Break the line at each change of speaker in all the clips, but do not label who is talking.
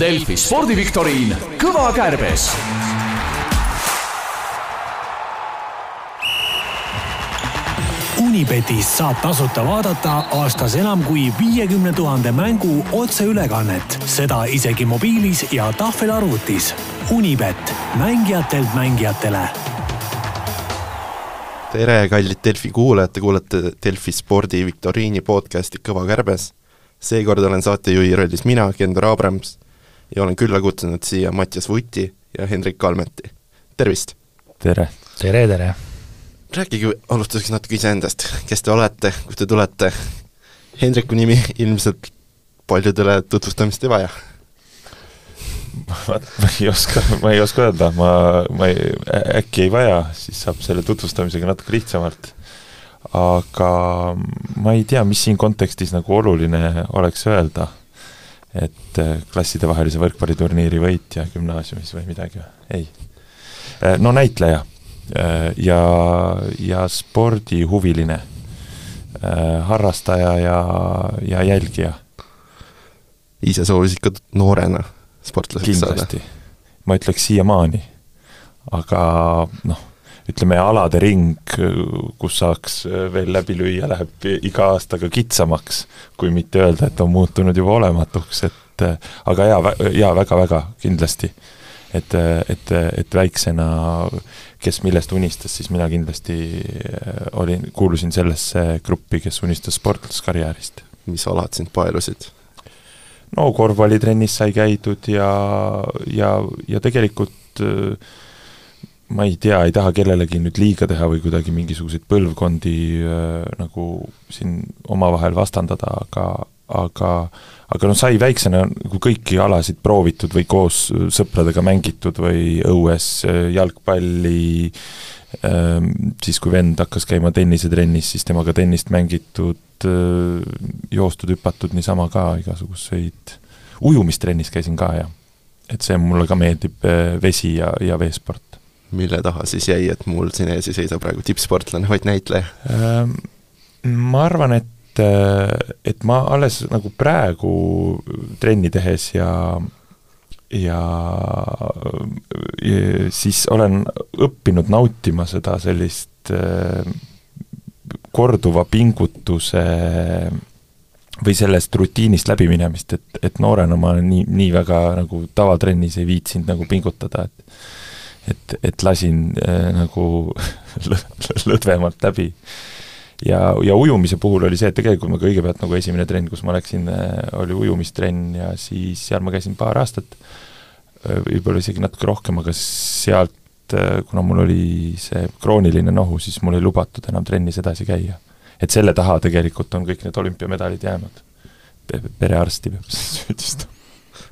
Delfi spordiviktoriin Kõva kärbes
Unibetis saab tasuta vaadata aastas enam kui viiekümne tuhande mängu otseülekannet, seda isegi mobiilis ja tahvelarvutis. Unibet, mängijatelt mängijatele.
tere , kallid Delfi kuulajad , te kuulate Delfi spordi viktoriini podcasti Kõva kärbes . seekord olen saatejuhi rollis mina , Kendur Abrams ja olen külla kutsunud siia Mattias Vuti ja Hendrik Kalmeti . tervist!
tere!
tere , tere!
rääkige alustuseks natuke iseendast , kes te olete , kust te tulete . Hendriku nimi ilmselt paljudele tutvustamist ei vaja .
ma ei oska , ma ei oska öelda , ma , ma ei , äkki ei vaja , siis saab selle tutvustamisega natuke lihtsamalt . aga ma ei tea , mis siin kontekstis nagu oluline oleks öelda , et eh, klassidevahelise võrkpalliturniiri võitja gümnaasiumis või midagi , ei . no näitleja Eh, ja , ja spordihuviline , harrastaja ja , ja jälgija
ise soovisid ka noorena sportlaseks saada .
kindlasti . ma ütleks siiamaani . aga noh , ütleme alade ring , kus saaks veel läbi lüüa , läheb iga aastaga kitsamaks , kui mitte öelda , et on muutunud juba olematuks , et eh, aga jaa , jaa , väga-väga kindlasti . et , et , et väiksena , kes millest unistas , siis mina kindlasti eh, olin , kuulusin sellesse gruppi , kes unistas sportlaskarjäärist
mis alad sind paelusid ?
no korvpallitrennis sai käidud ja , ja , ja tegelikult öö, ma ei tea , ei taha kellelegi nüüd liiga teha või kuidagi mingisuguseid põlvkondi öö, nagu siin omavahel vastandada , aga , aga aga noh , sai väiksena nagu kõiki alasid proovitud või koos sõpradega mängitud või õues öö, jalgpalli , Ehm, siis kui vend hakkas käima tennisetrennis , siis temaga tennist mängitud , joostud , hüpatud niisama ka igasuguseid , ujumistrennis käisin ka ja et see mulle ka meeldib , vesi ja , ja veesport .
mille taha siis jäi , et mul siin ees ei seisa praegu tippsportlane , vaid näitleja ?
Ehm, Ma arvan , et , et ma alles nagu praegu trenni tehes ja ja ja siis olen õppinud nautima seda sellist äh, korduva pingutuse või sellest rutiinist läbiminemist , et , et noorena ma nii , nii väga nagu tavatrennis ei viitsinud nagu pingutada , et et , et lasin äh, nagu lõ- lõdvemalt läbi . ja , ja ujumise puhul oli see , et tegelikult ma kõigepealt nagu esimene trenn , kus ma läksin , oli ujumistrenn ja siis seal ma käisin paar aastat , võib-olla isegi natuke rohkem , aga sealt , kuna mul oli see krooniline nohu , siis mul ei lubatud enam trennis edasi käia . et selle taha tegelikult on kõik need olümpiamedalid jäänud . perearsti peab siis süüdistama .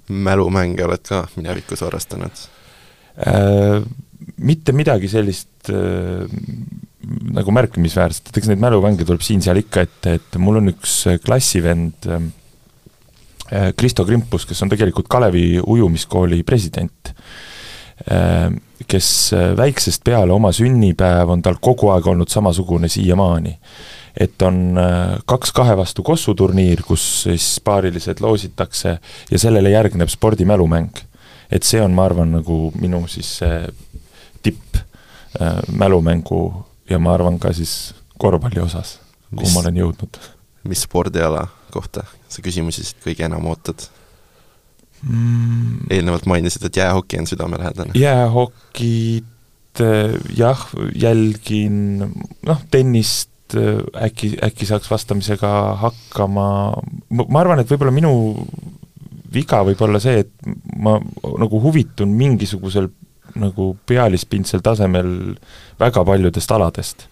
mälumänge oled ka minevikus harrastanud ?
Äh, mitte midagi sellist äh, nagu märkimisväärset , et eks neid mälumänge tuleb siin-seal ikka ette , et mul on üks klassivend äh, , Äh, Kristo Krimpus , kes on tegelikult Kalevi ujumiskooli president äh, , kes äh, väiksest peale oma sünnipäev on tal kogu aeg olnud samasugune siiamaani . et on äh, kaks kahe vastu Kossu turniir , kus siis paarilised loositakse ja sellele järgneb spordimälumäng . et see on , ma arvan , nagu minu siis see tipp äh, mälumängu ja ma arvan ka siis korvpalli osas , kuhu ma olen jõudnud .
mis spordiala kohta sa küsimusi siit kõige enam ootad ? eelnevalt mainisid , et jäähoki on südamelähedane .
jäähokid , eh, jah , jälgin , noh , tennist äh, äkki , äkki saaks vastamisega hakkama , ma arvan , et võib-olla minu viga võib olla see , et ma nagu huvitun mingisugusel nagu pealispindsel tasemel väga paljudest aladest .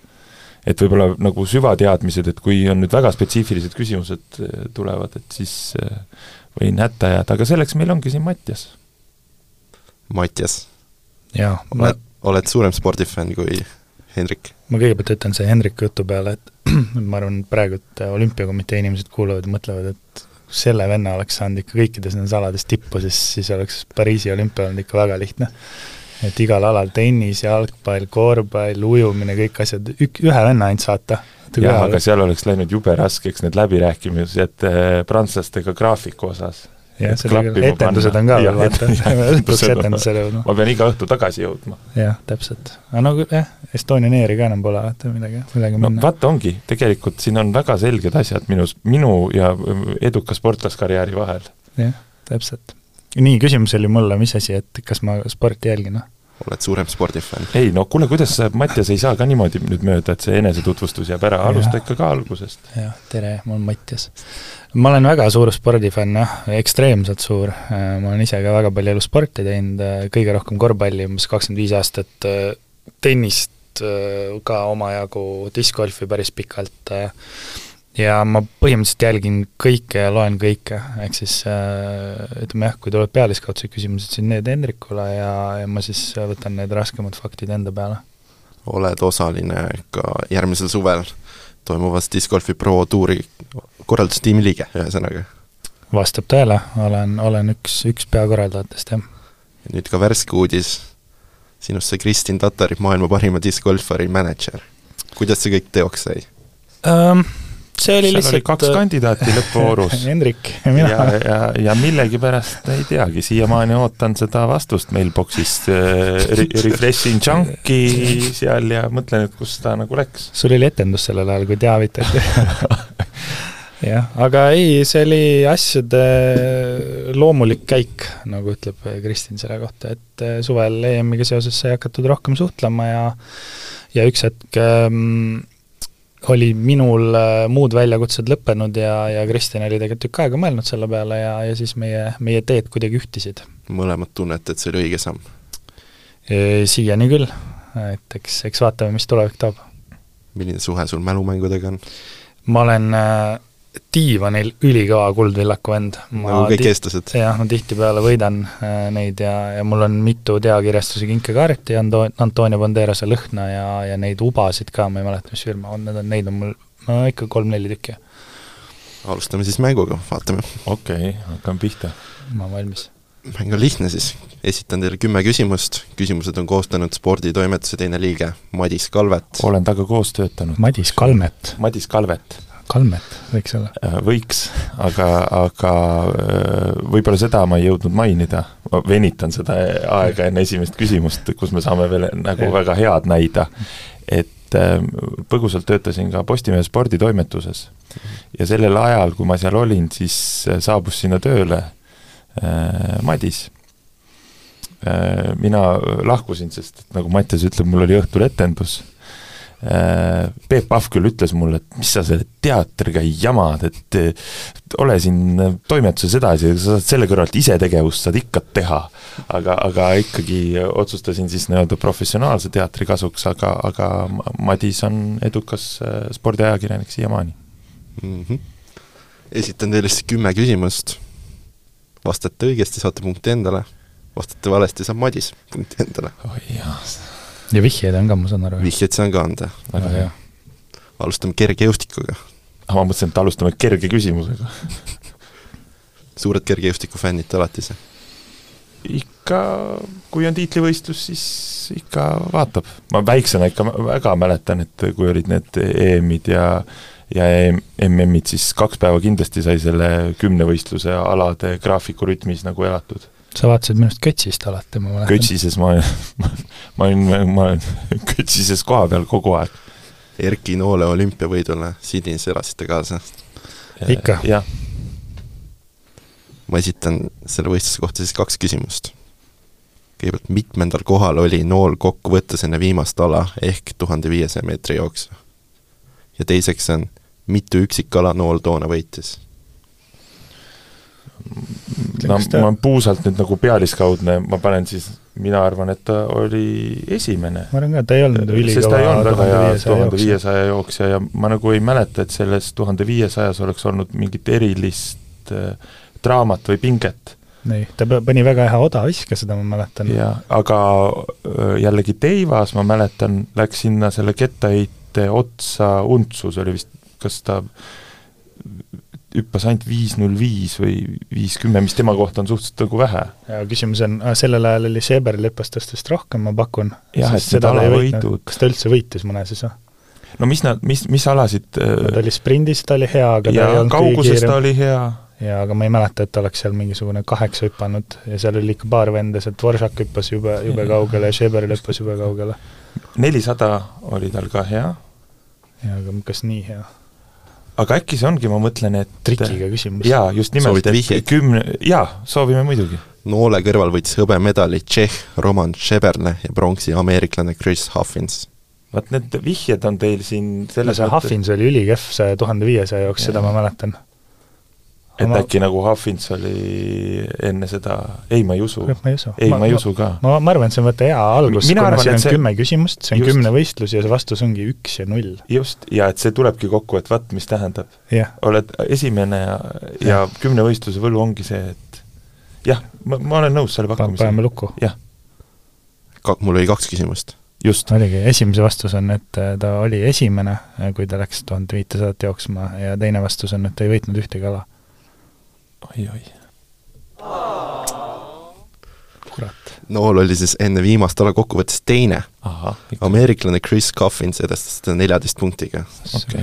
et võib-olla nagu süvateadmised , et kui on nüüd väga spetsiifilised küsimused äh, tulevad , et siis äh, võin hätta jääda , aga selleks meil ongi siin Mattias .
Matjas ,
jaa , ma ,
oled , oled suurem spordifänn kui Hendrik ?
ma kõigepealt ütlen see Hendriku jutu peale , et ma arvan , et praegu et olümpiakomitee inimesed kuulavad ja mõtlevad , et kui selle venna oleks saanud ikka kõikides nendes alades tippu , siis , siis oleks Pariisi olümpia olnud ikka väga lihtne . et igal alal tennis , jalgpall , korvpall , ujumine , kõik asjad , ük- , ühe venna ainult saata .
jah , aga seal oleks läinud jube raskeks need läbirääkimised eh, prantslastega äh, graafiku osas .
jah ,
et
seda küll ,
klappima
etendused on
panna.
ka
Jah,
veel , vaata
et- ,
lõpuks noh.
etendused on-
etendusele jõudma .
ma pean iga õhtu tagasi jõudma .
jah , täpselt . aga no kui- jah , Estonian Airi ka enam pole , vaata millega , millega
no
minna .
vaata , ongi , tegelikult siin on väga selged asjad minus , minu ja äh, eduka sportlaskarjääri vahel .
jah , täpselt . nii , küsimus oli mulle , mis asi , et kas ma sporti jälgin , noh ?
oled suurem spordifänn .
ei no kuule , kuidas sa , Mattias , ei saa ka niimoodi nüüd mööda , et see enesetutvustus jääb ära , alusta ikka ka algusest .
jah , tere , ma olen Mattias . ma olen väga suur spordifänn jah , ekstreemselt suur , ma olen ise ka väga palju elus sporti teinud , kõige rohkem korvpalli , umbes kakskümmend viis aastat , tennist äh, ka omajagu , discgolfi päris pikalt äh, ja ma põhimõtteliselt jälgin kõike ja loen kõike , ehk siis äh, ütleme jah , kui tulevad pealiskaudsed küsimused , siis need Hendrikule ja , ja ma siis äh, võtan need raskemad faktid enda peale .
oled osaline ka järgmisel suvel toimuvas Disc Golfi Pro tuuri korraldustiimi liige , ühesõnaga .
vastab tõele , olen , olen üks , üks peakorraldajatest , jah
ja nüüd ka värske uudis, sinust sai Kristin Tatari maailma parima discgolfari mänedžer . kuidas see kõik teoks sai ?
um, . see oli
seal oli
lihtsalt äh,
kaks kandidaati lõppvoorus
Hendrik ja
ja ,
mina ja, ja.
ja , ja millegipärast ei teagi , siiamaani ootan seda vastust mailbox'ist äh, , refreshing junk'i seal ja mõtlen , et kus ta nagu läks .
sul oli etendus sellel ajal , kui teavitati . jah , aga ei , see oli asjade loomulik käik , nagu ütleb Kristin selle kohta , et äh, suvel EM-iga seoses sai hakatud rohkem suhtlema ja ja üks hetk ähm, oli minul äh, muud väljakutsed lõppenud ja , ja Kristjan oli tegelikult tükk aega mõelnud selle peale ja , ja siis meie , meie teed kuidagi ühtisid .
mõlemad tunnete , et see oli õige samm .
Ee, Äh, siiani küll , et eks , eks vaatame , mis tulevik toob .
milline suhe sul mälumängudega on ?
ma olen äh, diivanil ülikõva kuldvillaku vend .
nagu kõik eestlased .
jah , ma tihtipeale võidan äh, neid ja , ja mul on mitu teakirjastuse kinkekaarti Anto- , Antonio Banderase lõhna ja , ja neid ubasid ka , ma ei mäleta , mis firma on , need on , neid on mul no ikka kolm-neli tükki ,
alustame siis mänguga , vaatame .
okei okay, , hakkame pihta .
ma olen valmis .
mäng on lihtne siis . esitan teile kümme küsimust , küsimused on koostanud sporditoimetuse teine liige Madis Kalvet .
olen temaga koos töötanud .
Madis Kalmet ,
Madis Kalvet
Kalmet võiks olla .
äh, võiks , aga , aga äh, võib-olla seda ma ei jõudnud mainida . ma venitan seda aega enne esimest küsimust , kus me saame veel nagu väga head näida . et äh, põgusalt töötasin ka Postimehe sporditoimetuses ja sellel ajal , kui ma seal olin , siis äh, saabus sinna tööle äh, Madis . mina lahkusin , sest et nagu Mattias ütleb , mul oli õhtul etendus . Äh, Peep Pahv küll ütles mulle , et mis sa selle teatriga jamad , et äh, ole siin toimetuses edasi , sa saad selle kõrvalt ise tegevust saad ikka teha . aga , aga ikkagi otsustasin siis nii-öelda professionaalse teatri kasuks , aga , aga Ma- Madis on edukas äh, spordiajakirjanik siiamaani .
mm . -hmm. esitan teile siis kümme küsimust , vastate õigesti , saate punkti endale , vastate valesti , saab Madis punkti endale .
oi jaa ,
ja vihjeid on ka , ma saan aru .
vihjeid saan ka anda .
väga hea .
alustame kergejõustikuga .
aga ma mõtlesin , et alustame kerge küsimusega .
suured kergejõustikufännid te olete ise ?
ikka , kui on tiitlivõistlus , siis ikka vaatab . ma väiksena ikka väga mäletan , et kui olid need EM-id ja ja E EM- MM-id , siis kaks päeva kindlasti sai selle kümnevõistluse alade graafiku rütmis nagu elatud .
sa vaatasid minust kötsist alati , ma mäletan .
kötsises ma , ma , ma olin , ma olin kötsises koha peal kogu aeg .
Erki Noole olümpiavõidule Sydneys elasite kaasa .
Ikka.
jah ,
ma esitan selle võistluse kohta siis kaks küsimust . kõigepealt , mitmendal kohal oli Nool kokkuvõttes enne viimast ala ehk tuhande viiesaja meetri jooksu ? ja teiseks on , mitu üksikala Nool toona võitis ?
no
kas ta-
ma olen puusalt nüüd nagu pealiskaudne , ma panen siis , mina arvan , et ta oli esimene .
ma arvan ka , ta ei olnud
sest ta ei
ülikõva
olnud väga hea tuhande
jooksja.
viiesaja jooksja ja ma nagu ei mäleta , et selles tuhande viiesajas oleks olnud mingit erilist äh, draamat või pinget
ei , ta pe- pani väga hea odaviske , seda ma mäletan .
jah , aga öö, jällegi Teivas , ma mäletan , läks sinna selle kettaheite otsa untsu , see oli vist , kas ta hüppas ainult viis null viis või viis kümme , mis tema kohta on suhteliselt nagu vähe .
ja küsimus on , sellel ajal oli Seeber lõpestustest rohkem , ma pakun .
Jah, et need alavõidud-
kas ta üldse võitis mõne siis või ?
no mis nad , mis , mis alasid äh,
ta oli sprindis , ta oli hea , aga ta
ja
ei olnud kõige
kauguses ta
kiirem .
oli hea
ja aga ma ei mäleta, et oleks seal mingisugune kaheksa hüpanud ja seal oli ikka paar venda, see Dvoržak hüppas jube, jube kaugele ja Šeber hüppas jube kaugele.
nelisada oli tal ka hea,
ja aga kas nii hea?
aga äkki see ongi , ma mõtlen , et
trikiga küsimus .
jaa , just nimelt
Soovid , vihjeid?
et kümne , jaa , soovime muidugi .
Noole kõrval võitis hõbemedali Tšehh Roman Šeberle ja pronksi ameeriklane Chris Huffins .
vaat need vihjed on teil siin
no
selles
see Huffins oli ülikehv saja tuhande viiesaja jaoks , seda ma mäletan .
et
ma-
äkki nagu Huffins oli enne seda , ei , ma ei usu .
kurat , ma ei usu .
ei , ma ei usu ka .
ma , ma arvan , et see on vaata hea algus ,
Mina
kuna
arvan,
arvan,
et
siin on
see-
see... kümme küsimust , see on
Just.
Just. kümne võistlus ja see vastus ongi üks ja null .
just , ja et see tulebki kokku , et vaat , mis tähendab .
jah ,
oled esimene ja , ja kümne võistluse võlu ongi see , et jah , ma , ma olen nõus selle
paneme
pakkumisega .
lukku .
jah ,
Ka- , mul oli kaks küsimust .
just ,
oligi , esimese vastus on , et äh, ta oli esimene , kui ta läks tuhande viitesadat jooksma ja teine vastus on , et ta ei võitnud ühtegi ala .
oi-oi .
kurat .
Nool oli siis enne viimast ala kokkuvõttes teine .
ahah ,
ameeriklane Chris Huffins edastas seda neljateist punktiga
okei .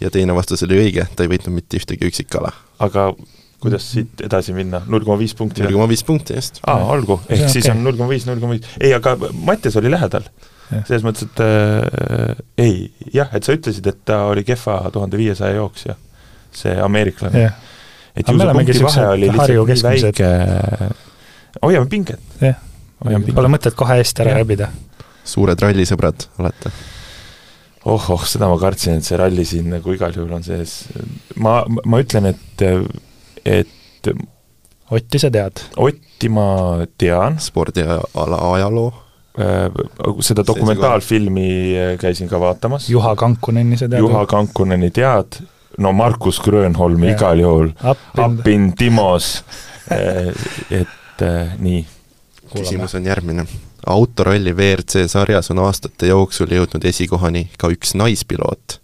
ja teine vastus oli õige , ta ei võitnud mitte ühtegi üksikala .
aga kuidas siit edasi minna , null koma viis punkti ?
null koma viis punkti just .
aa , olgu , ehk
See on
siis
okei.
on null koma viis , null koma viis , ei , aga Mattias oli lähedal .
Jah.
selles mõttes , et äh, ei , jah , et sa ütlesid , et ta oli kehva tuhande viiesaja jooksja , see ameeriklane .
jah ,
et
Aga
ju
me
see
oleme
punkti
siuksed
vahe oli
Harju
lihtsalt nii
keskmised.
väike , hoiame pinget ,
jah .
hoiame
Pole
pinget .
mõtet kohe eest ära
Jah.
rebida .
suured rallisõbrad olete .
oh-oh , Oh, seda ma kartsin , et see ralli siin nagu igal juhul on sees . ma , ma ütlen , et , et
Otti sa tead ?
Otti ma tean ,
spordiala ajaloo ,
seda dokumentaalfilmi äh, käisin ka vaatamas .
Juha Kankuneni sa tead ?
Juha Kankuneni tead , no Markus Grönholm
Jaa.
igal juhul ,
Kankuneni .
Appin Timos , et eh, nii ,
küsimus on järgmine . autoralli WRC sarjas on aastate jooksul jõudnud esikohani ka üks naispiloot .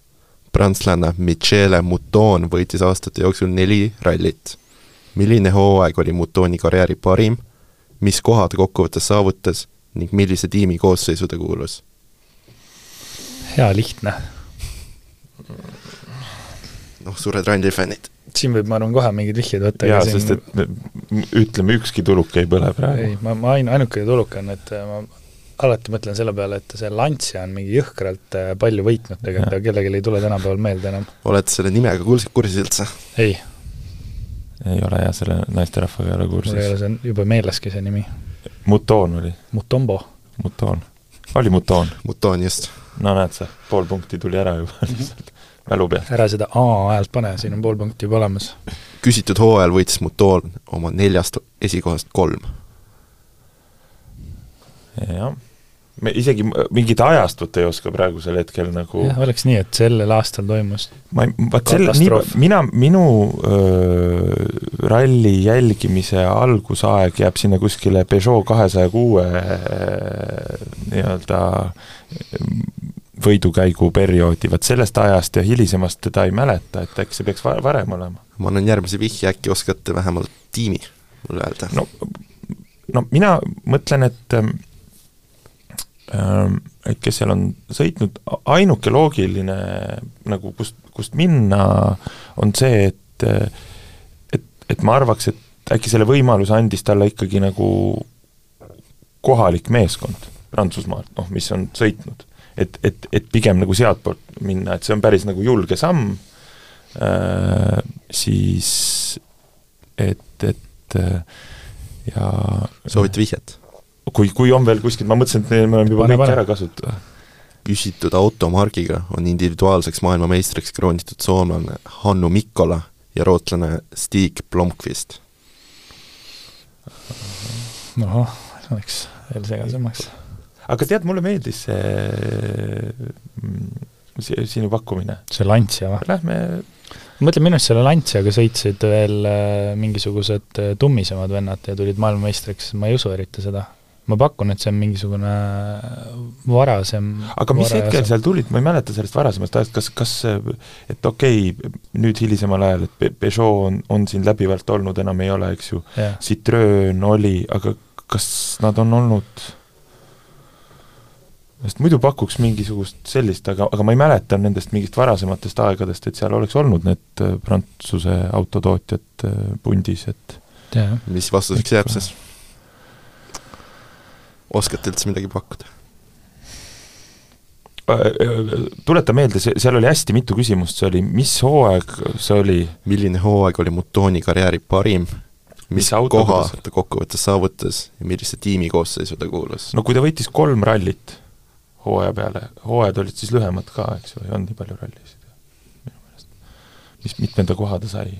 prantslanna Michele Mouton võitis aastate jooksul neli rallit . milline hooaeg oli Moutoni karjääri parim , mis koha ta kokkuvõttes saavutas ning millise tiimi koosseisu ta kuulus ?
hea lihtne .
noh , suured rallifännid .
siin võib , ma arvan , kohe mingeid vihjeid võtta .
jaa , sest et me- m- ütleme , ükski tuluk ei põle praegu
ei , ma , ma ain- , ainuke tuluk on , et äh, ma alati mõtlen selle peale , et see Lancia on mingi jõhkralt äh, palju võitnud tegelikult , aga kellelgi ei tule tänapäeval meelde enam .
oled selle nimega kuulsid kursis üldse ?
ei ,
ei ole jah , selle naisterahvaga ei ole
mul ei ole
kursis .
see jube meeleski see nimi .
Mutoon oli ,
Mutombo .
Mutoon , oli Mutoon ,
Mouton just .
no näed sa , pool punkti tuli ära juba
Mhm.
lihtsalt mälu pealt .
ära seda A häält pane , siin on pool punkti juba olemas .
küsitud hooajal võitis Mouton oma neljast esikohast kolm .
jah , me isegi m- mingit ajastut ei oska praegusel hetkel nagu
jah , oleks nii , et sellel aastal toimus
ma ei , vaat selle , nii
Katastroof. ,
mina , minu öö, ralli jälgimise algusaeg jääb sinna kuskile Peugeot kahesaja kuue nii-öelda võidukäigu perioodi , vaat sellest ajast ja hilisemast teda ei mäleta , et äkki see peaks va- varem olema .
ma annan järgmise vihje , äkki oskate vähemalt tiimi mulle öelda
no , no mina mõtlen , et ähm, ähm, et kes seal on sõitnud , ainuke loogiline nagu kust , kust minna , on see , et äh, et , et ma arvaks , et äkki selle võimaluse andis talle ikkagi nagu kohalik meeskond Prantsusmaalt , noh , mis on sõitnud . et , et , et pigem nagu sealtpoolt minna , et see on päris nagu julge samm äh, , siis et , et äh, ja noh,
soovite vihjet ?
kui , kui on veel kuskil , ma mõtlesin , et me oleme juba
Pane,
kõik
pane.
ära kasutanud .
küsitud automargiga on individuaalseks maailmameistriks kroonitud soomlane Hannu Mikkola ja rootslane Stig Blomqvist .
ahah , see läks veel segasemaks .
aga tead , mulle meeldis see, mm, see sinu pakkumine .
see Lancia või ?
Lähme ,
ma mõtlen , minu arust selle Lanciaga sõitsid veel äh, mingisugused äh, tummisemad vennad ja tulid maailmameistriks , ma ei usu eriti seda . ma pakun , et see on mingisugune äh, varasem
aga mis hetkel seal tulid , ma ei mäleta sellest varasemast ajast , kas , kas et okei okay, , nüüd hilisemal ajal , et Pe- Peugeot on , on siin läbivalt olnud , enam ei ole , eks ju ,
jah ,
Citroen oli , aga kas nad on olnud sest muidu pakuks mingisugust sellist, aga, aga ma ei mäleta nendest mingist varasematest aegadest, et seal oleks olnud need äh, Prantsuse autotootjad äh, pundis, et
jah .
mis vastuseks jääb siis ? oskate üldse midagi pakkuda ?
Äh, tuleta meelde, see, seal oli hästi mitu küsimust, see oli, mis hooaeg see oli,
milline hooaeg oli Mutoni karjääri parim ? mis
Mis autoga
koha
ta-
ta kokkuvõttes saavutas ja millise tiimi koosseisu ta kuulus ?
no kui ta võitis kolm rallit hooaja peale , hooajad olid siis lühemad ka , eks ju , ei olnud nii palju rallisid minu meelest. mis mitmenda koha ta sai?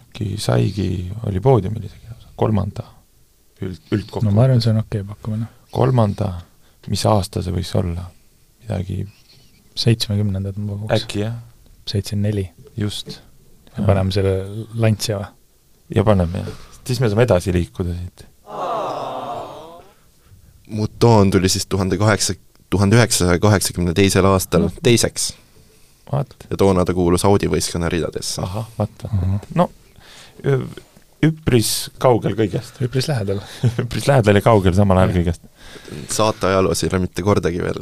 äkki saigi , oli poodiumil isegi lausa, kolmanda üld ,
no ma arvan ,
üldkokkuvõttes
see on okei noh. pakkumine .
no, , kolmanda , mis aasta see võis olla? midagi ,
seitsmekümnendad ma pakuks ,
äkki jah ,
seitsekümmend neli .
just .
paneme selle lantsi või ?
ja paneme jah , siis me saame edasi liikuda siit .
Muton tuli siis tuhande kaheksa , tuhande üheksasaja kaheksakümne teisel aastal teiseks
vaat ,
ja toona ta kuulus Audi võistkonna ridadesse .
ahah , vaata , no ü- üpris kaugel kõigest ,
üpris lähedal .
üpris lähedal ja kaugel samal ajal kõigest .
saate ajaloos ei ole mitte kordagi veel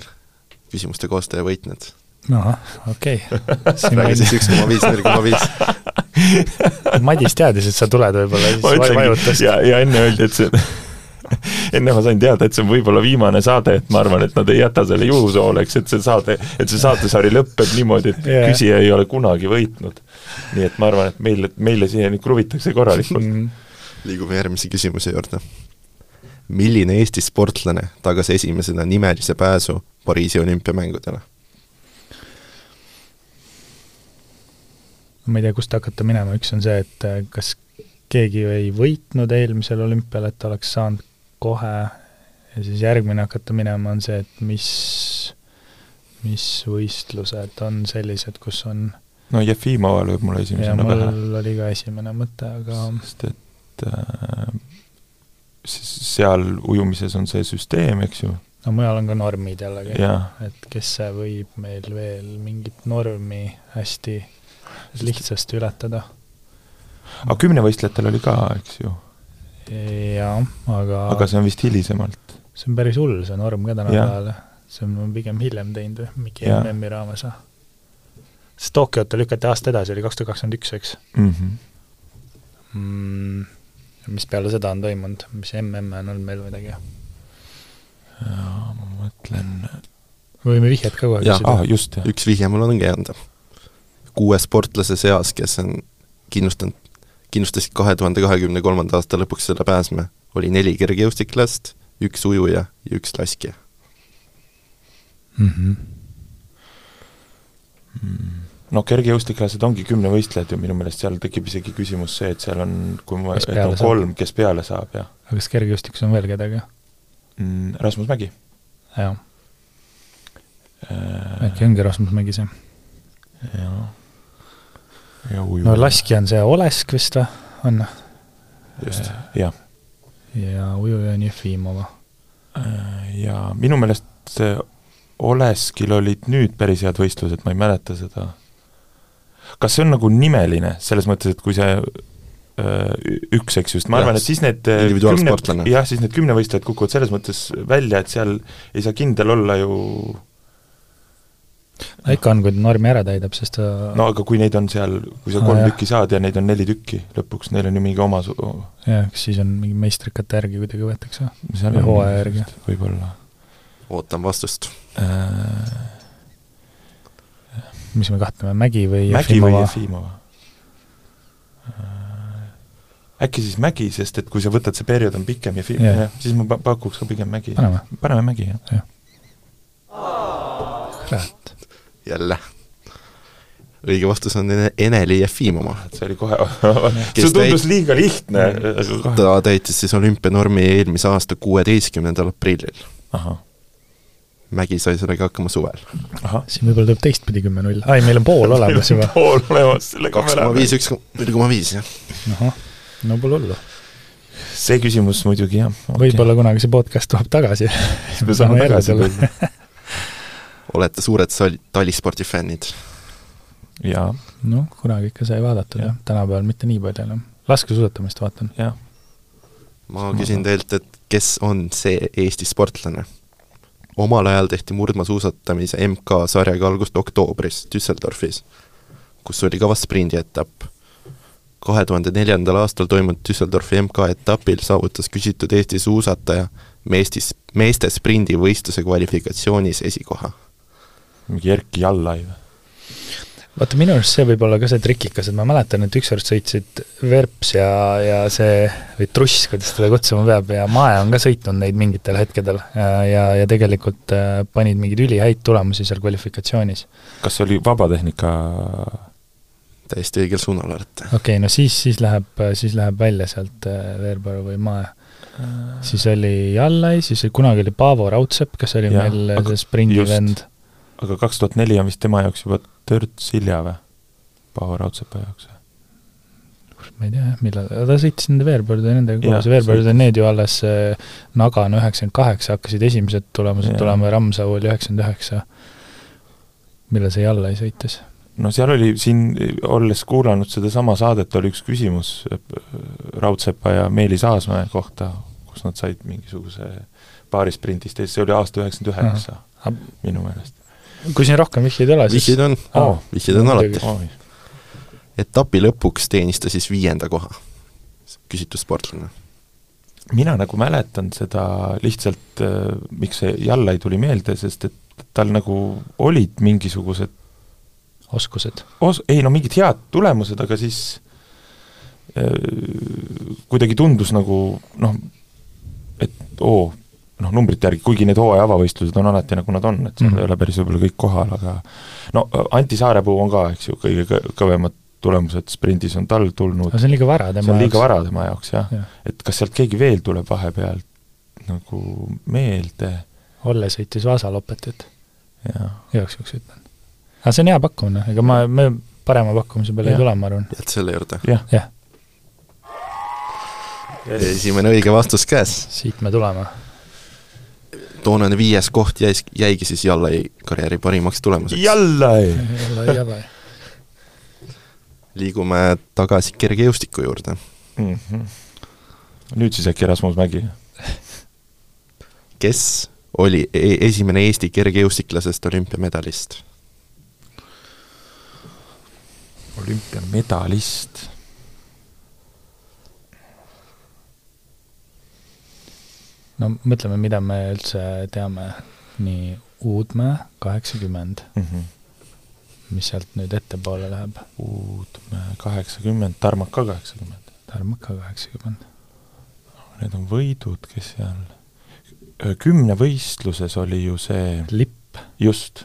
küsimuste koostaja võitnud .
ahah , okei
praegu siis
okay. .
üks koma viis , null koma viis .
Madis teadis , et sa tuled võib-olla ,
ma
siis va- vajutas
ütlengi , ja , ja enne öeldi , et see enne ma sain teada , et see on võib-olla viimane saade , et ma arvan , et nad ei jäta selle juhuse hooleks , et see saade , et see saatesari lõpeb niimoodi , et
Jaa.
yeah. küsija ei ole kunagi võitnud . nii et ma arvan , et meile , meile siiani kruvitakse korralikult .
Mm,
liigume järgmise küsimuse juurde . milline Eesti sportlane tagas esimesena nimelise pääsu Pariisi olümpiamängudele ?
ma ei tea , kust hakata minema , üks on see , et äh, kas keegi ju ei võitnud eelmisel olümpial , et oleks saanud kohe ja siis järgmine hakata minema on see , et mis , mis võistlused on sellised , kus on
no Jefimova lööb mulle
ja
esimesena
mul
pähe ,
oli ka esimene mõte , aga
sest et äh, s- seal ujumises on see süsteem , eks ju ,
no mujal on ka normid jällegi ,
jaa
et kes see võib meil veel mingit normi hästi lihtsasti ületada .
aga kümnevõistlejatel oli ka , eks ju ,
jaa , aga,
aga see on vist hilisemalt .
see on päris hull , see norm ka
Jah.
tänapäeval . see on pigem hiljem teinud või mingi
Jah.
MM-i raames või ? sest Tokyot ta lükati aasta edasi , oli kaks tuhat kakskümmend üks , eks
Mm -hmm.
mm, . mis peale seda on toimunud , mis MM-e on olnud meil midagi ?
ma mõtlen ,
võime vihjet ka kohe
Jah.
küsida
ah . just , jah ,
üks vihje mul ongi anda . kuue sportlase seas , kes on kindlustanud , kindlustasid kahe tuhande kahekümne kolmanda aasta lõpuks selle pääsme , oli neli kergejõustiklast , üks ujuja ja üks laskja .
no kergejõustiklased ongi kümnevõistlejad ju minu meelest , seal tekib isegi küsimus see , et seal on , kui ma ,
Kes
et
peale
on
saab?
kolm , kes peale saab ja
aga kas kergejõustikus on veel kedagi ?
mm, , Rasmus Mägi
jah ,
äh,
äkki ongi Rasmus Mägi see .
ja, ja
no
ujuja
laskja on see Olesk vist või ? on .
just .
jah ,
ja ujuja on Jefimova .
ja minu meelest see Oleskil olid nüüd päris head võistlused , ma ei mäleta seda . kas see on nagu nimeline , selles mõttes , et kui see öö, ü- üks , eks ju , sest ma
Jah,
arvan , et siis need öö,
individuaalsportlane.
kümne- jah , siis need kümnevõistlejad kukuvad selles mõttes välja , et seal ei saa kindel olla ju
ikka on , kui ta normi ära täidab , sest ta
no aga kui neid on seal , kui sa
Ah,
kolm
jah.
tükki saad ja neid on neli tükki lõpuks , neil on ju mingi oma su- ,
jah , kas siis on mingi meistrikate järgi kuidagi võetakse ?
seal
Või
on
hooaja järgi.
võib-olla
ootan vastust .
äh, .
mis me kahtleme , Mägi või
Mägi või
Jefimova ?
Jefimova ? Äh, äkki siis Mägi , sest et kui sa võtad , see periood on pikem ja
Jah.
Jefimova , siis ma pa- pakuks ka pigem Mägi .
Paneme.
paneme Mägi , jah .
kurat .
jälle . õige vastus on Ene- Eneli Jefimova .
et see oli kohe ,
Kes
see tundus
täit-
liiga lihtne , aga kohe
ta täitis siis olümpianormi eelmise aasta kuueteistkümnendal aprillil .
ahah ,
Mägi sai sellega hakkama suvel .
ahah .
siin võib-olla tuleb teistpidi kümme-null , ai , meil on pool olemas juba .
pool olemas , sellega
kaks koma viis , üks , null koma viis , jah .
ahah , no pole hullu .
see küsimus muidugi jah okay.
võib-olla kunagi see podcast tuleb tagasi .
siis me saame tagasi . tulla .
olete suured sal- , talispordi fännid .
jaa ,
noh , kunagi ikka sai vaadatud , jah , tänapäeval mitte nii palju enam . laskesuusatamist vaatan .
jah .
ma küsin teilt , et kes on see Eesti sportlane , omal ajal tehti murdmaasuusatamise MK-sarjaga algust oktoobris Düsseldorfis, kus oli ka vast sprindietapp. kahe tuhande neljandal aastal toimunud Düsseldorfi MK-etapil saavutas küsitud Eesti suusataja meestis, meeste sprindivõistluse kvalifikatsioonis esikoha.
mingi Erki Jallai või?
vaata , minu arust see võib olla ka see trikikas , et ma mäletan , et ükskord sõitsid Verps ja , ja see või Truss , kuidas teda kutsuma peab , ja Mae on ka sõitnud neid mingitel hetkedel äh, ja , ja tegelikult äh, panid mingeid ülihäid tulemusi seal kvalifikatsioonis .
kas see oli Vabatehnika
täiesti õigel suunal olete .
okei okay, , no siis , siis läheb , siis läheb välja sealt äh, Veerpalu või Mae .
Äh.
siis oli Jallai , siis oli kunagi oli Paavo Raudsepp , kes oli ja,
Jah,
meil
aga
aga, see sprindivend .
aga kaks tuhat neli on vist tema jaoks juba törts hilja või ? Paavo Raudsepa jaoks või ?
ma ei tea jah , millal , ta sõitis nende Veerpallude ja nendega
Jah,
koos , Veerpallud
sõitis.
on need ju alles äh, Nagano üheksakümmend kaheksa hakkasid esimesed tulemused
Jah.
tulema , Ramsau oli üheksakümmend üheksa , millal see Jallai sõitis .
no seal oli siin , olles kuulanud sedasama saadet , oli üks küsimus äh, Raudsepa ja Meelis Aasmäe kohta , kus nad said mingisuguse paari sprindist ees , see oli aasta üheksakümmend üheksa
Ahah.
minu meelest .
kui siin rohkem vihjeid ei ole , siis
vihjeid on
Aa.
oh, , vihjeid on alati .
oi ,
etapi lõpuks teenis ta siis viienda koha , küsitud sportlane .
mina nagu mäletan seda lihtsalt , miks see Jallai tuli meelde , sest et tal nagu olid mingisugused
oskused .
os- , ei no mingid head tulemused , aga siis öö, kuidagi tundus nagu noh , et oo , noh numbrite järgi , kuigi need hooaja avavõistlused on alati nagu nad on , et seal mm
Mhm.
-hmm. ei ole päris võib-olla kõik kohal , aga no äh, Anti Saarepuu on ka , eks ju , kõige kõ- kõvemad tulemused sprindis on tal tulnud
aga , see on liiga vara
see
tema
on liiga . vara tema jaoks jah ja.
Jah. ,
et kas sealt keegi veel tuleb vahepeal nagu meelde
Olle sõitis Vaasa Lopetit ,
ja
igaks juhuks ütlen . aga see on hea pakkumine , ega ma , me parema pakkumise peale
Jah.
ei tule , ma arvan .
jääd selle juurde .
jah
jah ,
yes. ,
esimene õige vastus käes .
siit me tuleme .
toonane viies koht jäis , jäigi siis Jallai karjääri parimaks tulemuseks .
Jallai ,
Jallai , Jallai .
liigume tagasi kergejõustiku juurde .
mm . -hmm. nüüd siis äkki Rasmus Mägi .
kes oli e esimene Eesti kergejõustiklasest olümpiamedalist ?
olümpiamedalist .
no mõtleme , mida me üldse teame , nii Uudmäe kaheksakümmend ,
Mhm.
mis sealt nüüd ettepoole läheb ,
Uudmäe äh, kaheksakümmend , Tarmak ka kaheksakümmend .
Tarmaka kaheksakümmend .
Need on võidud , kes seal , kümnevõistluses oli ju see ,
lipp ,
just ,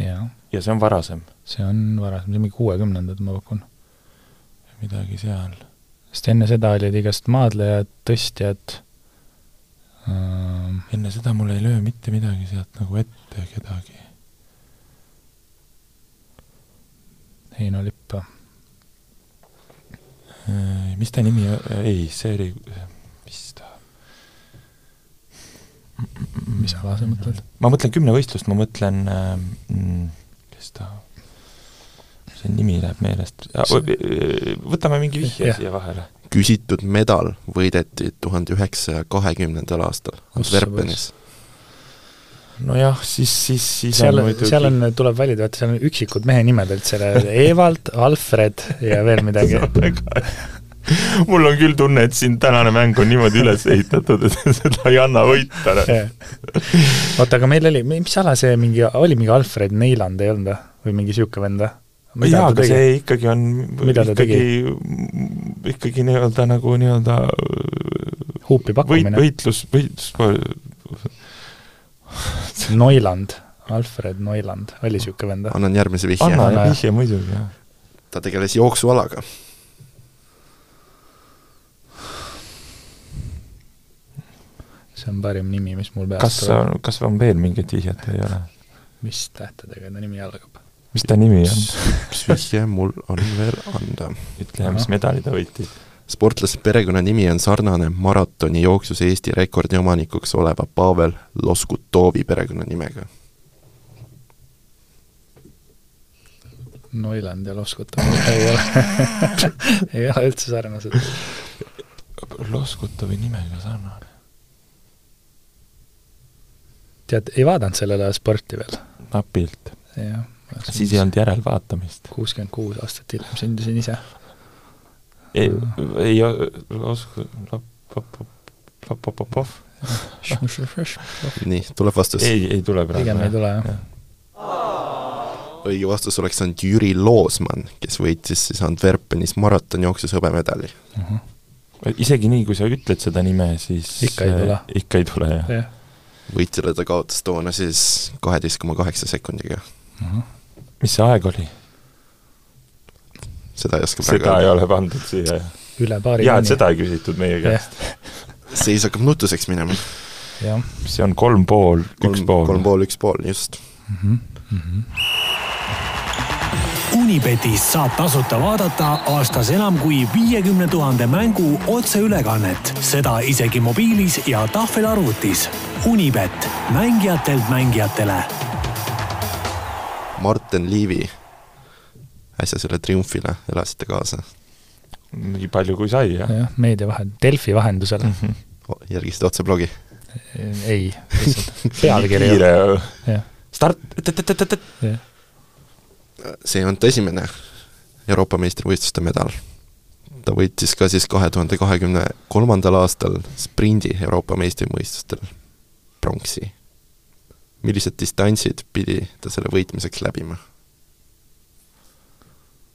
jaa ,
ja see on varasem ,
see on varasem , see on mingi kuuekümnendad , ma pakun .
midagi seal .
sest enne seda olid igast maadlejad , tõstjad ähm, ,
enne seda mul ei löö mitte midagi sealt nagu ette kedagi .
Heino Lipp ,
Äh, mis ta nimi , ei , see oli , mis ta ,
mis ala sa mõtled ?
ma mõtlen kümnevõistlust , ma mõtlen äh, , kes ta , see nimi läheb meelest , võtame mingi vihje
Jah.
siia vahele .
küsitud medal võideti tuhande üheksasaja kahekümnendal aastal Antwerpenis .
nojah , siis , siis , siis
seal , seal on , tuleb valida , vaata seal on üksikud mehe nimed üldse , Evald , Alfred ja veel midagi .
mul on küll tunne , et siin tänane mäng on niimoodi üles ehitatud , et seda ei anna võita .
Jah. oota , aga meil oli , mis ala see mingi , oli mingi Alfred Neiland ei olnud või , või mingi niisugune vend või ?
jaa , aga see ikkagi on
Mida ta
ikkagi m- ikkagi nii-öelda nagu nii-öelda
huupi
võit ,
pakkumine ?
võitlus , võitlus ,
Noiland , Alfred Noiland , oli niisugune vend või ?
annan järgmise
anna
vihje .
jah.
vihje muidugi , jah .
ta tegeles jooksualaga .
see on parim nimi , mis mul peas
kas , kas on veel mingit vihjet või ei ole ?
mis tähtedega ta nimi algab ?
mis ta nimi on ?
üks vihje mul on veel anda
ütle , mis
Ahah.
medali ta võitis .
sportlase perekonnanimi on sarnane maratonijooksus Eesti rekordi omanikuks oleva Pavel Loskutovi perekonnanimega .
Noiland ja Loskuta ei ole , ei ole üldse sarnased .
Loskutovi nimega sarnane .
tead , ei vaadanud sellel ajal sporti veel ,
napilt .
jah .
siis ei olnud järelvaatamist .
kuuskümmend kuus aastat hiljem sündisin ise . Äh.
ei , ei o- oska ,
nii , tuleb vastus .
ei , ei tule praegu .
pigem ei tule , jah .
õige vastus oleks olnud Jüri Loosman , kes võitis siis Antwerpenis maratonjooksus hõbemedali .
isegi nii , kui sa ütled seda nime , siis
Ikka ei tule.
äh, ikka ei tule , jah .
jah ,
võitjale ta kaotas toona siis kaheteist koma kaheksa sekundiga .
mis see aeg oli ?
seda ei oska praegu
seda ei
öelda .
ole pandud siia , jah .
üle paari
jaa , et seda ei küsitud meie käest .
seis hakkab nutuseks minema .
jah ,
see on kolm pool , üks
kolm , kolm
pool .
pool , üks pool , just .
Unibetis saab tasuta vaadata aastas enam kui viiekümne tuhande mängu otseülekannet , seda isegi mobiilis ja tahvelarvutis . Unibet , mängijatelt mängijatele .
Martin Liivi , äsja selle triumfile elasite kaasa ,
nii palju , kui sai , jah .
jah , meedia vahend , Delfi vahendusel ,
Mhm.
järgisite otse blogi .
ei , lihtsalt pealkiri ei ole ,
kiire
jah ,
start , tõtt-tõtt-tõtt-tõtt .
jah .
see on ta esimene Euroopa meistrivõistluste medal . ta võitis ka siis kahe tuhande kahekümne kolmandal aastal sprindi Euroopa meistrivõistlustel pronksi . millised distantsid pidi ta selle võitmiseks läbima ?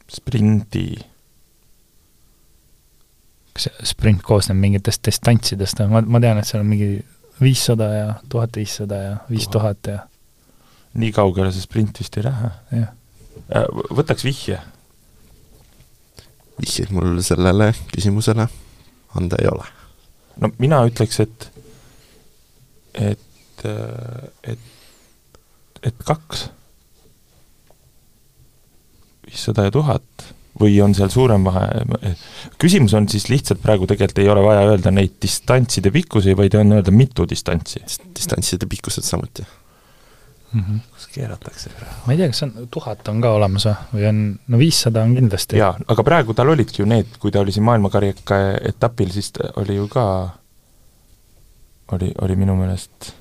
sprindi ,
kas see sprint koosneb mingitest distantsidest või , ma , ma tean , et seal on mingi viissada ja tuhat viissada ja viis tuhat ja
nii kaugele see sprint vist ei lähe .
jah ,
Võtaks vihje ,
vihjeid mul sellele küsimusele anda ei ole .
no mina ütleks , et et , et , et kaks , viissada ja tuhat või on seal suurem vahe , küsimus on siis lihtsalt praegu tegelikult ei ole vaja öelda neid distantside pikkusi , vaid on öelda mitu distantsi .
distantside pikkused samuti .
kus keeratakse praegu ?
ma ei tea , kas on , tuhat on ka olemas või , või on , no viissada on kindlasti ,
jaa , aga praegu tal olidki ju need , kui ta oli siin maailmakarika etapil , siis ta oli ju ka , oli , oli minu meelest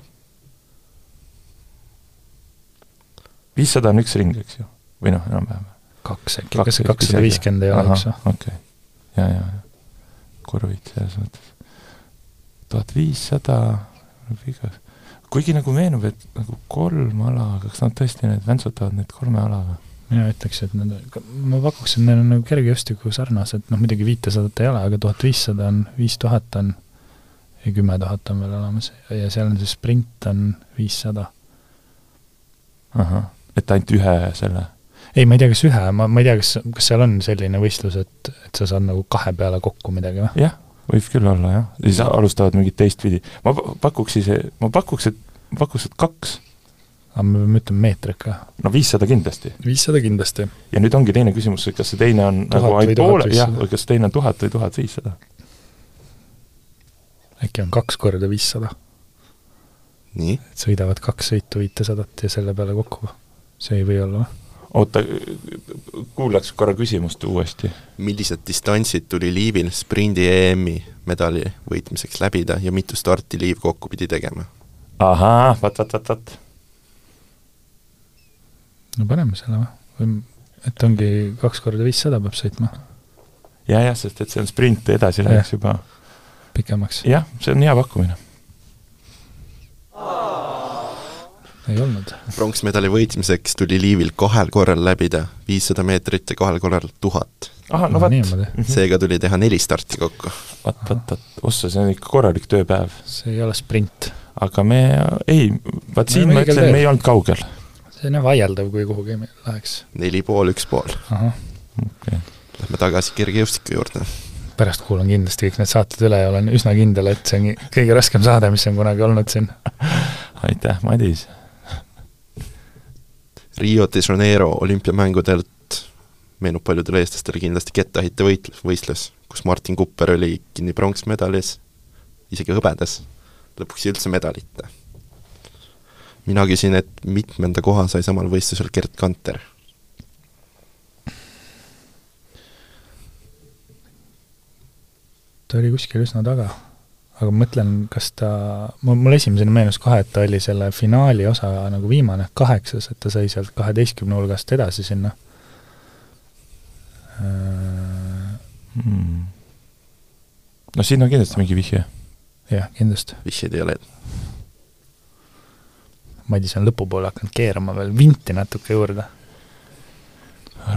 viissada on üks ring , eks ju , või noh , enam-vähem .
kaks äkki , kas see kakssada viiskümmend ei ole , eks ju ?
okei okay. , ja , ja , ja korvid selles mõttes . tuhat viissada , igas , kuigi nagu meenub , et nagu kolm ala , kas nad tõesti need väntsutavad need kolme alaga ?
mina ütleks , et need , ma pakuks , et need on nagu kergejõustiku sarnased , noh muidugi viitesadat ei ole , aga tuhat viissada on , viis tuhat on ja kümme tuhat on veel olemas ja seal on see sprint on viissada .
ahah , et ainult ühe selle
ei , ma ei tea , kas ühe , ma , ma ei tea , kas , kas seal on selline võistlus , et , et sa saad nagu kahe peale kokku midagi või ?
jah , võib küll olla jah , siis alustavad mingit teistpidi . ma pa- pakuks siis , ma pakuks , et , ma pakuks , et kaks ,
aga me peame ütlema meetrit ka .
no viissada kindlasti .
viissada kindlasti .
ja nüüd ongi teine küsimus , et kas see teine on
Tuhat
nagu
või
ainult
tuhat
poole , jah
viissada? ,
või kas teine on tuhat või tuhat viissada .
äkki on kaks korda viissada ,
nii ,
et sõidavad kaks sõitu viitesadat ja selle peale kokku . see ei või olla või ?
oota , kuulaks korra küsimust uuesti .
millised distantsid tuli Liivil sprindi EM-i medali võitmiseks läbida ja mitu starti Liiv kokku pidi tegema ?
ahaa , vat , vat , vat , vat .
no paneme selle või ? või et ongi kaks korda viissada peab sõitma
ja , jah , sest et see on sprint , edasi läheks juba .
pikemaks ?
jah , see on hea pakkumine .
ei olnud .
pronksmedali võitmiseks tuli Liivil kahel korral läbida viissada meetrit ja kahel korral tuhat .
ahah , no
No
vat ,
niimoodi.
seega tuli teha neli starti kokku .
vat , vat , vat , ossa , see on ikka korralik tööpäev .
see ei ole sprint .
aga me , ei , vaat
Me
siin
oleme
ma
õigel
ütlen ,
teel.
me ei olnud kaugel .
see on jah vaieldav , kui kuhugi me- läheks .
neli pool , üks pool .
ahah ,
Lähme tagasi kergejõustiku juurde .
pärast kuulan kindlasti kõik need saated üle ja olen üsna kindel , et see ongi kõige raskem saade , mis on kunagi olnud siin .
aitäh , Madis
Rio de Janeiro olümpiamängudelt meenub paljudele eestlastele kindlasti kettaheite võitlus , võistlus , kus Martin Kupper oli kinni pronksmedalis , isegi hõbedas , lõpuks üldse medalita . mina küsin , et mitmenda koha sai samal võistlusel Gerd Kanter ?
ta oli kuskil üsna taga . aga ma mõtlen, kas ta, mul, mul esimesena meenus kohe, et ta oli selle finaali osa nagu viimane, kaheksas, et ta sai sealt kaheteistkümne hulgast edasi sinna Äh,
mm. . no siin on kindlasti mingi vihje .
jah , kindlasti .
vihjeid ei ole .
Madis on lõpupoole hakanud keerama veel vinti natuke juurde .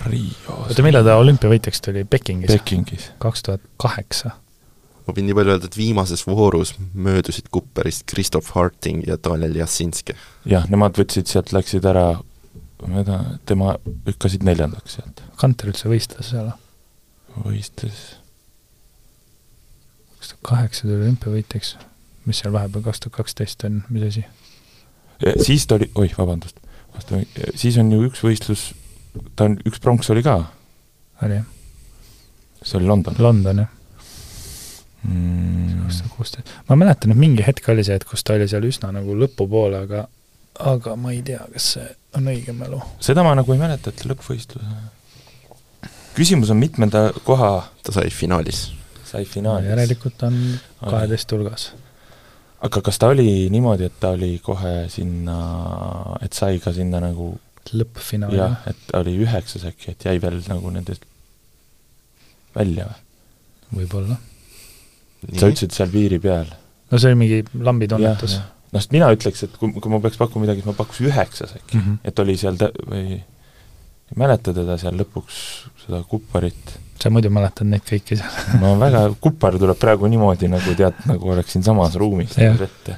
Rios .
oota , millal ta olümpiavõitjaks tuli? Pekingis?
Pekingis .
kaks tuhat kaheksa .
ma võin nii palju öelda , et viimases voorus möödusid Kupperist Christoph Harting ja Daniel Jasinski .
jah , nemad võtsid sealt , läksid ära , tema lükkasid neljandaks sealt ,
Kanter üldse võistles seal ?
võistles .
kaks tuhat kaheksa tuli olümpiavõitjaks . mis seal vahepeal kaks tuhat kaksteist on , mis asi ?
siis ta oli , oih , vabandust , siis on ju üks võistlus , ta on , üks pronks oli ka ,
oli jah ,
see oli London
London jah ,
mm.
kaks . tuhat kuusteist . ma mäletan , et mingi hetk oli see , et kus ta oli seal üsna nagu lõpupoole , aga aga ma ei tea , kas see on õige mälu .
seda ma nagu ei mäleta , et lõppvõistlus . küsimus on , mitmenda koha
ta sai finaalis .
sai finaalis ,
järelikult ta on kaheteist hulgas .
aga kas ta oli niimoodi , et ta oli kohe sinna , et sai ka sinna nagu
lõppfinaal
jah
jah ,
et ta oli üheksas äkki , et jäi veel nagu nendest välja või ?
võib-olla .
sa . ütlesid seal piiri peal .
no see oli mingi lambi tunnetus .
noh , sest mina ütleks , et kui , kui ma peaks pakkuma midagi , siis ma pakuks üheksas äkki ,
Mm -hmm.
et oli seal tä- , või ei mäleta teda seal lõpuks , seda kupparit .
sa muidu mäletad neid kõiki seal ?
ma väga , kuppar tuleb praegu niimoodi nagu tead , nagu oleks siinsamas ruumis
Jah.
nagu ette .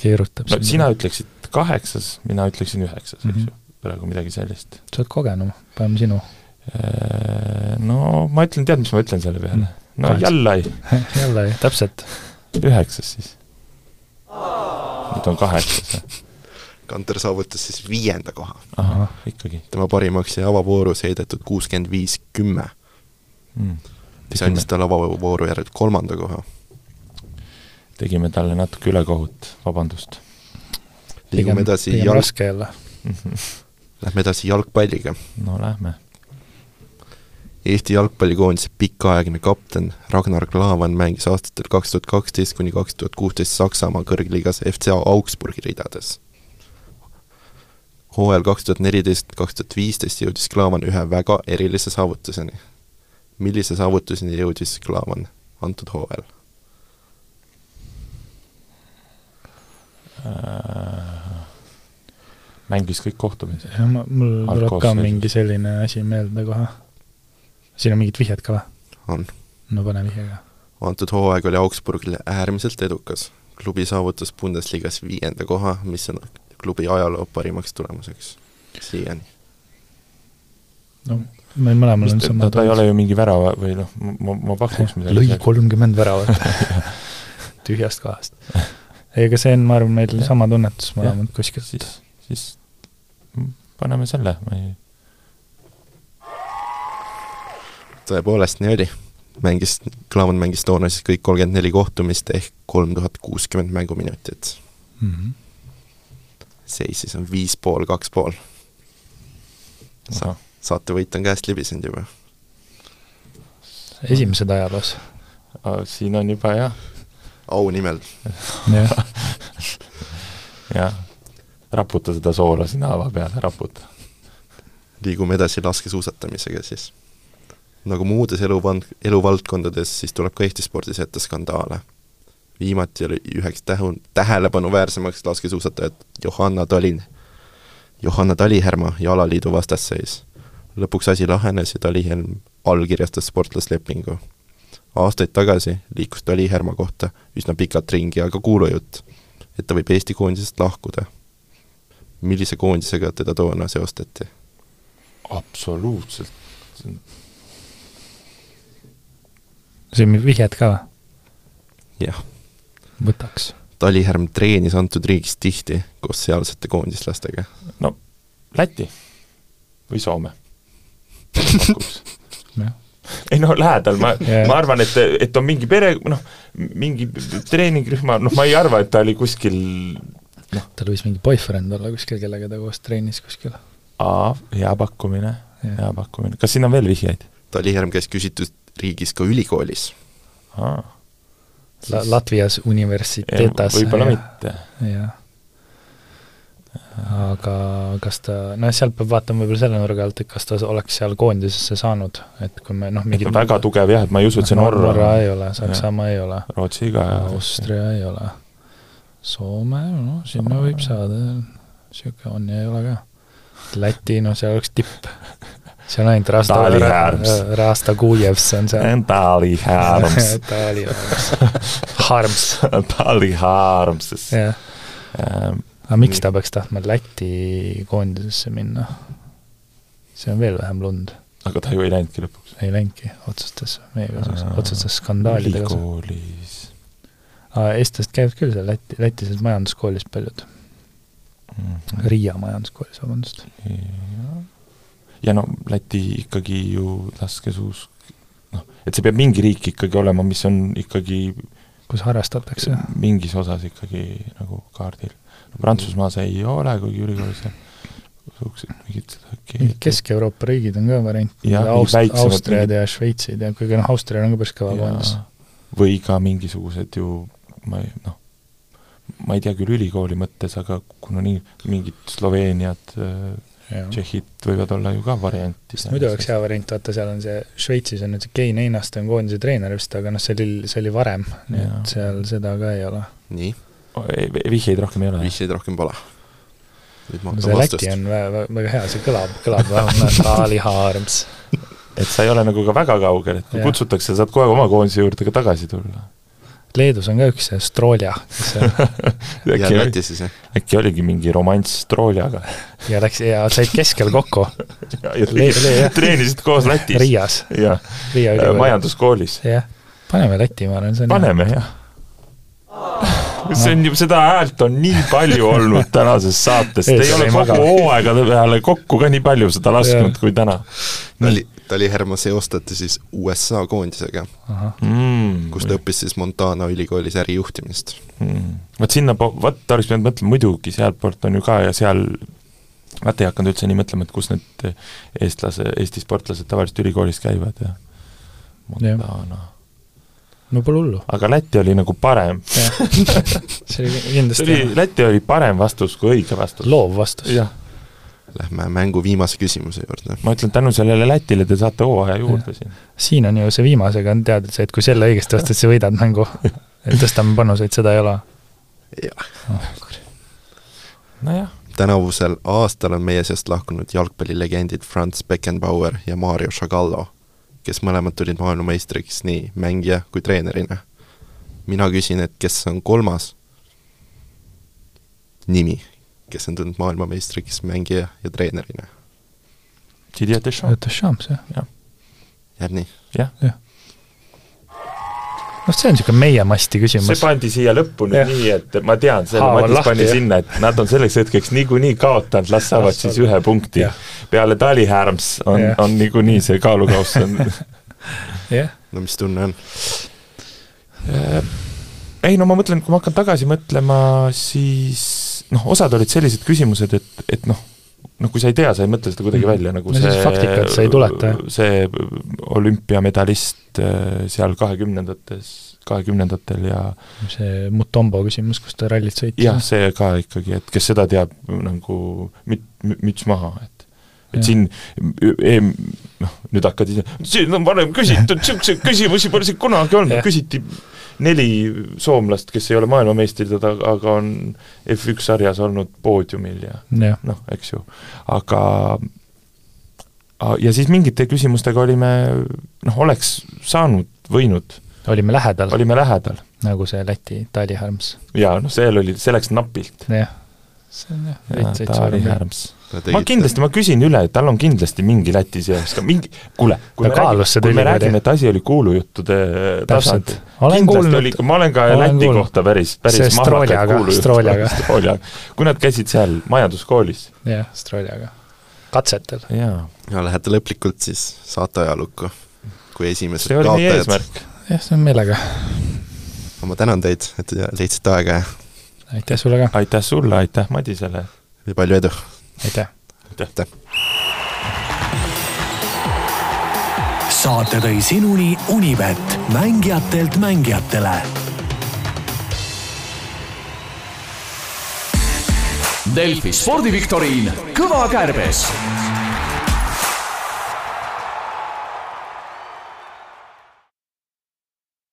keerutab
no sina . ütleksid kaheksas , mina ütleksin üheksas , eks
Mhm.
ju , praegu midagi sellist .
sa oled kogenum , paneme sinu .
No ma ütlen , tead , mis ma ütlen selle peale ?
Mhm.
no
Kaheksa.
jällai ,
jälle , täpselt .
üheksas siis . nüüd on kaheksas ,
Kanter saavutas siis viienda koha .
ahah , ikkagi
tema parimaks jäi avavoorus heidetud kuuskümmend viis kümme ,
mm. .
mis andis talle avavooru järel kolmanda koha .
tegime talle natuke ülekohut , vabandust .
liigume edasi
pigem
jalg ,
raske jälle .
lähme edasi jalgpalliga .
no lähme .
Eesti jalgpallikoondise pikaaegne kapten Ragnar Klavan mängis aastatel kaks tuhat kaksteist kuni kaks tuhat kuusteist Saksamaa kõrgliigas FC Augsburgi ridades . hooajal kaks tuhat neliteist, kaks tuhat viisteist jõudis Klavan ühe väga erilise saavutuseni . millise saavutuseni jõudis Klavan antud hooajal ?
Äh, mängis kõik kohtumised .
mul tuleb ka
Algkoosseisus.
mingi selline asi meelde kohe . siin on mingid vihjed ka või ?
on .
no pane vihje ka .
antud hooaeg oli Augsburgile äärmiselt edukas . klubi saavutas Bundesligas viienda koha , mis on klubi ajaloo parimaks tulemuseks siiani .
no meil mõlemal on sama
ta, ta ei ole ju mingi värava või noh , ma , ma pakuks midagi .
lõi kolmkümmend väravat . tühjast kohast . ei , aga see on , ma arvan , meil
Jah.
sama tunnetus mõlemad kuskilt .
siis , siis mm, paneme selle , ma ei ,
tõepoolest nii oli . mängis , Klaavan mängis toona siis kõik kolmkümmend neli kohtumist ehk kolm tuhat kuuskümmend mänguminutit . seis siis on viis pool , kaks pool .
ahah ,
saatevõit on käest libisenud juba .
esimesed ajaloos .
siin on juba jah ,
au nimel .
jah ,
jah , raputa seda soola sinna hava peale , raputa .
liigume edasi laskesuusatamisega siis . nagu muudes eluvand- , eluvaldkondades , siis tuleb ka Eesti spordis ette skandaale . viimati oli üheks tähu- , tähelepanuväärsemaks laskesuusatajat Johanna Talin , Johanna Talihärma ja alaliidu vastasseis . lõpuks asi lahenes ja Talihelm allkirjastas sportlaslepingu . aastaid tagasi liikus Talihärma kohta üsna pikalt ringi aga kuulujutt , et ta võib Eesti koondisest lahkuda . millise koondisega teda toona seostati ?
absoluutselt .
siin on vihjed ka või ?
jah
võtaks .
Talihärm treenis antud riigis tihti koos sealsete koondislastega .
no Läti või Soome pakuks .
jah ,
ei no lähedal , ma
Jaa. ,
ma arvan , et , et on mingi pere , noh , mingi treeningrühma , noh , ma ei arva , et ta oli kuskil
tal võis mingi boyfriend olla kuskil , kellega ta koos trennis kuskil .
aa , hea pakkumine ,
Jah.
hea pakkumine , kas siin on veel vihjeid ?
Talihärm käis küsitud riigis ka ülikoolis .
La- , Latvias Universitetas .
võib-olla mitte .
jah . aga kas ta , nojah , sealt peab vaatama võib-olla selle nurga alt , et kas ta oleks seal koondisesse saanud , et kui me noh ,
et
mingid
väga tugev jah , et ma ei usu , et see Norra,
Norra
Norra ,
ei ole , Saksamaa ei ole ,
Rootsi ka .
Austria ei ole , Soome , noh , sinna võib saada , niisugune on ja ei ole ka . Läti , noh , seal oleks tipp . seal ainult Rasta
Taali Härms. ,
Rasta Kujevs on seal .
Tali Harms ,
Taali Härms . Harms ,
Tali Harms .
jah .
Äh,
aga miks ta peaks tahtma Läti koondisesse minna ? see on veel vähem lund ,
aga ta ju ei läinudki lõpuks .
ei läinudki , otsustas meie kasuks
Aa, ,
otsustas skandaalide kasuks .
ülikoolis .
eestlased käivad küll seal Läti , Lätis majanduskoolis paljud ,
Mhm.
Riia majanduskoolis , vabandust .
ja no Läti ikkagi ju laskesuusk , noh , et see peab mingi riik ikkagi olema , mis on ikkagi
kus harrastatakse ,
mingis osas ikkagi nagu kaardil . Prantsusmaa see ei ole , kuigi ülikoolis seal niisugused mingid seda keelt-
Kesk-Euroopa riigid on ka variant ,
Jah,
Aust- ,
väiksemad
Austriad
mingid-
ja Šveitsid ja kuigi noh , Austria on ka päris kõva
ja-
koondis .
või ka mingisugused ju ma ei noh , ma ei tea küll ülikooli mõttes , aga kuna nii mingid Sloveeniad , Tšehhid võivad olla ju ka variant .
sest muidu oleks hea variant , vaata seal on see , Šveitsis on nüüd see Kein Einaste on koondise treener vist , aga noh , see oli , see oli varem , nii
Jaa.
et seal seda ka ei ole .
nii ,
vihjeid rohkem ei ole ?
vihjeid rohkem pole . nüüd ma
no
hakkan
see Läti
vastust .
on vä- vä- väga hea , see kõlab , kõlab vähemalt Taali Haarms .
et sa ei ole nagu ka väga kaugel , et kui
Jah.
kutsutakse , saad kohe oma koondise juurde ka tagasi tulla .
Leedus on ka üks see Strolja , kes on-
jääb
äkki ,
Läti siis , jah ?
äkki oligi mingi romanss Trooljaga
ja läks ja said keskel kokku
ja, ja
Le- le-
treenisid koos Lätis
Riias ,
ja
Riia
äh,
ülikoolis .
majanduskoolis .
jah , paneme Läti , ma arvan , see on
paneme jah . see on ju , seda häält on nii palju olnud tänases saates , te ei ole
Eestlane ei maga.
kogu hooaegade peale kokku ka nii palju seda lasknud
Jah.
kui täna
Tali , Talihärma seostati siis USA koondisega ,
mm, .
kus ta õppis siis Montana ülikoolis ärijuhtimist .
mm. . vot sinna , vot oleks pidanud mõtlema , muidugi sealtpoolt on ju ka ja seal vaata ei hakanud üldse nii mõtlema , et kus need eh, eestlase , Eesti sportlased tavaliselt ülikoolis käivad ja Montana .
no pole hullu ,
aga Läti oli nagu parem ,
see oli
see
kindlasti
oli , Läti oli parem vastus kui õige vastus .
loov vastus .
jah ,
Lähme mängu viimase küsimuse juurde .
ma ütlen , tänu sellele Lätile te saate hooaja juurde siin .
siin on ju see viimasega on teada see , et kui selle õigesti ostad , siis võidad mängu . et tõstame panuseid , seda ei ole .
nojah ,
tänavusel aastal on meie seast lahkunud jalgpallilegendid Franz Beckenbauer ja Mario Zagallo , kes mõlemad tulid maailmameistriks nii mängija kui treenerina . mina küsin , et kes on kolmas nimi , kes on tulnud maailmameistriks mängija ja treenerina ,
Didier Deschamps ,
ütles Shams , jah .
jääb nii ?
jah .
noh , see on niisugune meie masti
see
küsimus .
pandi siia lõppu nüüd
Jah.
nii , et ma tean , selle
Haav on
Matis
lahti,
pani
jah.
sinna , et nad on selleks hetkeks niikuinii kaotanud , las saavad siis ühe punkti
Jah. .
peale Talihärms on
Jah. ,
on niikuinii see kaalukauss on
jah ,
no mis tunne on ?
ei no ma mõtlen , kui ma hakkan tagasi mõtlema , siis noh , osad olid sellised küsimused , et , et noh , noh kui sa ei tea , sa ei mõtle seda kuidagi välja nagu
Mhm. No siis faktikat sa ei tuleta, jah.
see olümpiamedalist äh, seal kahekümnendates , kahekümnendatel ja
see Mutombo küsimus , kus ta rallit sõitis .
jah , see ka ikkagi , et kes seda teab nagu müt- , müts maha , et
Jah.
et siin e- em- noh , nüüd hakkad ise , siin on varem küsitud , niisuguseid küsimusi pole siin kunagi olnud
Jah. ,
küsiti neli soomlast , kes ei ole maailmameistrid , aga , aga on F1 sarjas olnud poodiumil ja
jah ,
noh , eks ju , aga a- ja siis mingite küsimustega olime noh , oleks saanud , võinud ,
olime lähedal ,
olime lähedal
nagu see Läti Taali Harms .
ja noh , seal oli , see läks napilt .
jah , see on jah , veits , veits
Taari
suurem .
Härms ma . kindlasti , ma küsin üle , tal on kindlasti mingi Läti seos ka mingi , kuule , kui
Ta
me
kaalus
räägime ,
seda
kui me
ülikooli.
räägime , et asi oli kuulujuttude tasand
Täpselt. . Olen kuulnud.
ma olen ka
Olen
olen Läti
kuulnud.
kuulnud. kohta päris ,
See
päris
Stroljaga,
mahlakaid
Stroljaga.
kuulujutte . kui nad käisid seal majanduskoolis
jah , Stroljaga . katsetel .
jaa ,
ja lähete lõplikult siis saate ajalukku , kui esimesed
see oli meie
kaotajad .
eesmärk .
jah , see on meelega .
ma tänan teid , et te leidsite aega ja-
aitäh sulle ka ,
aitäh sulle , aitäh Madisele .
ja palju edu!
aitäh .
aitäh!
saate tõi sinuni Unibet , mängijatelt mängijatele
Delfi spordiviktoriin Kõva kärbes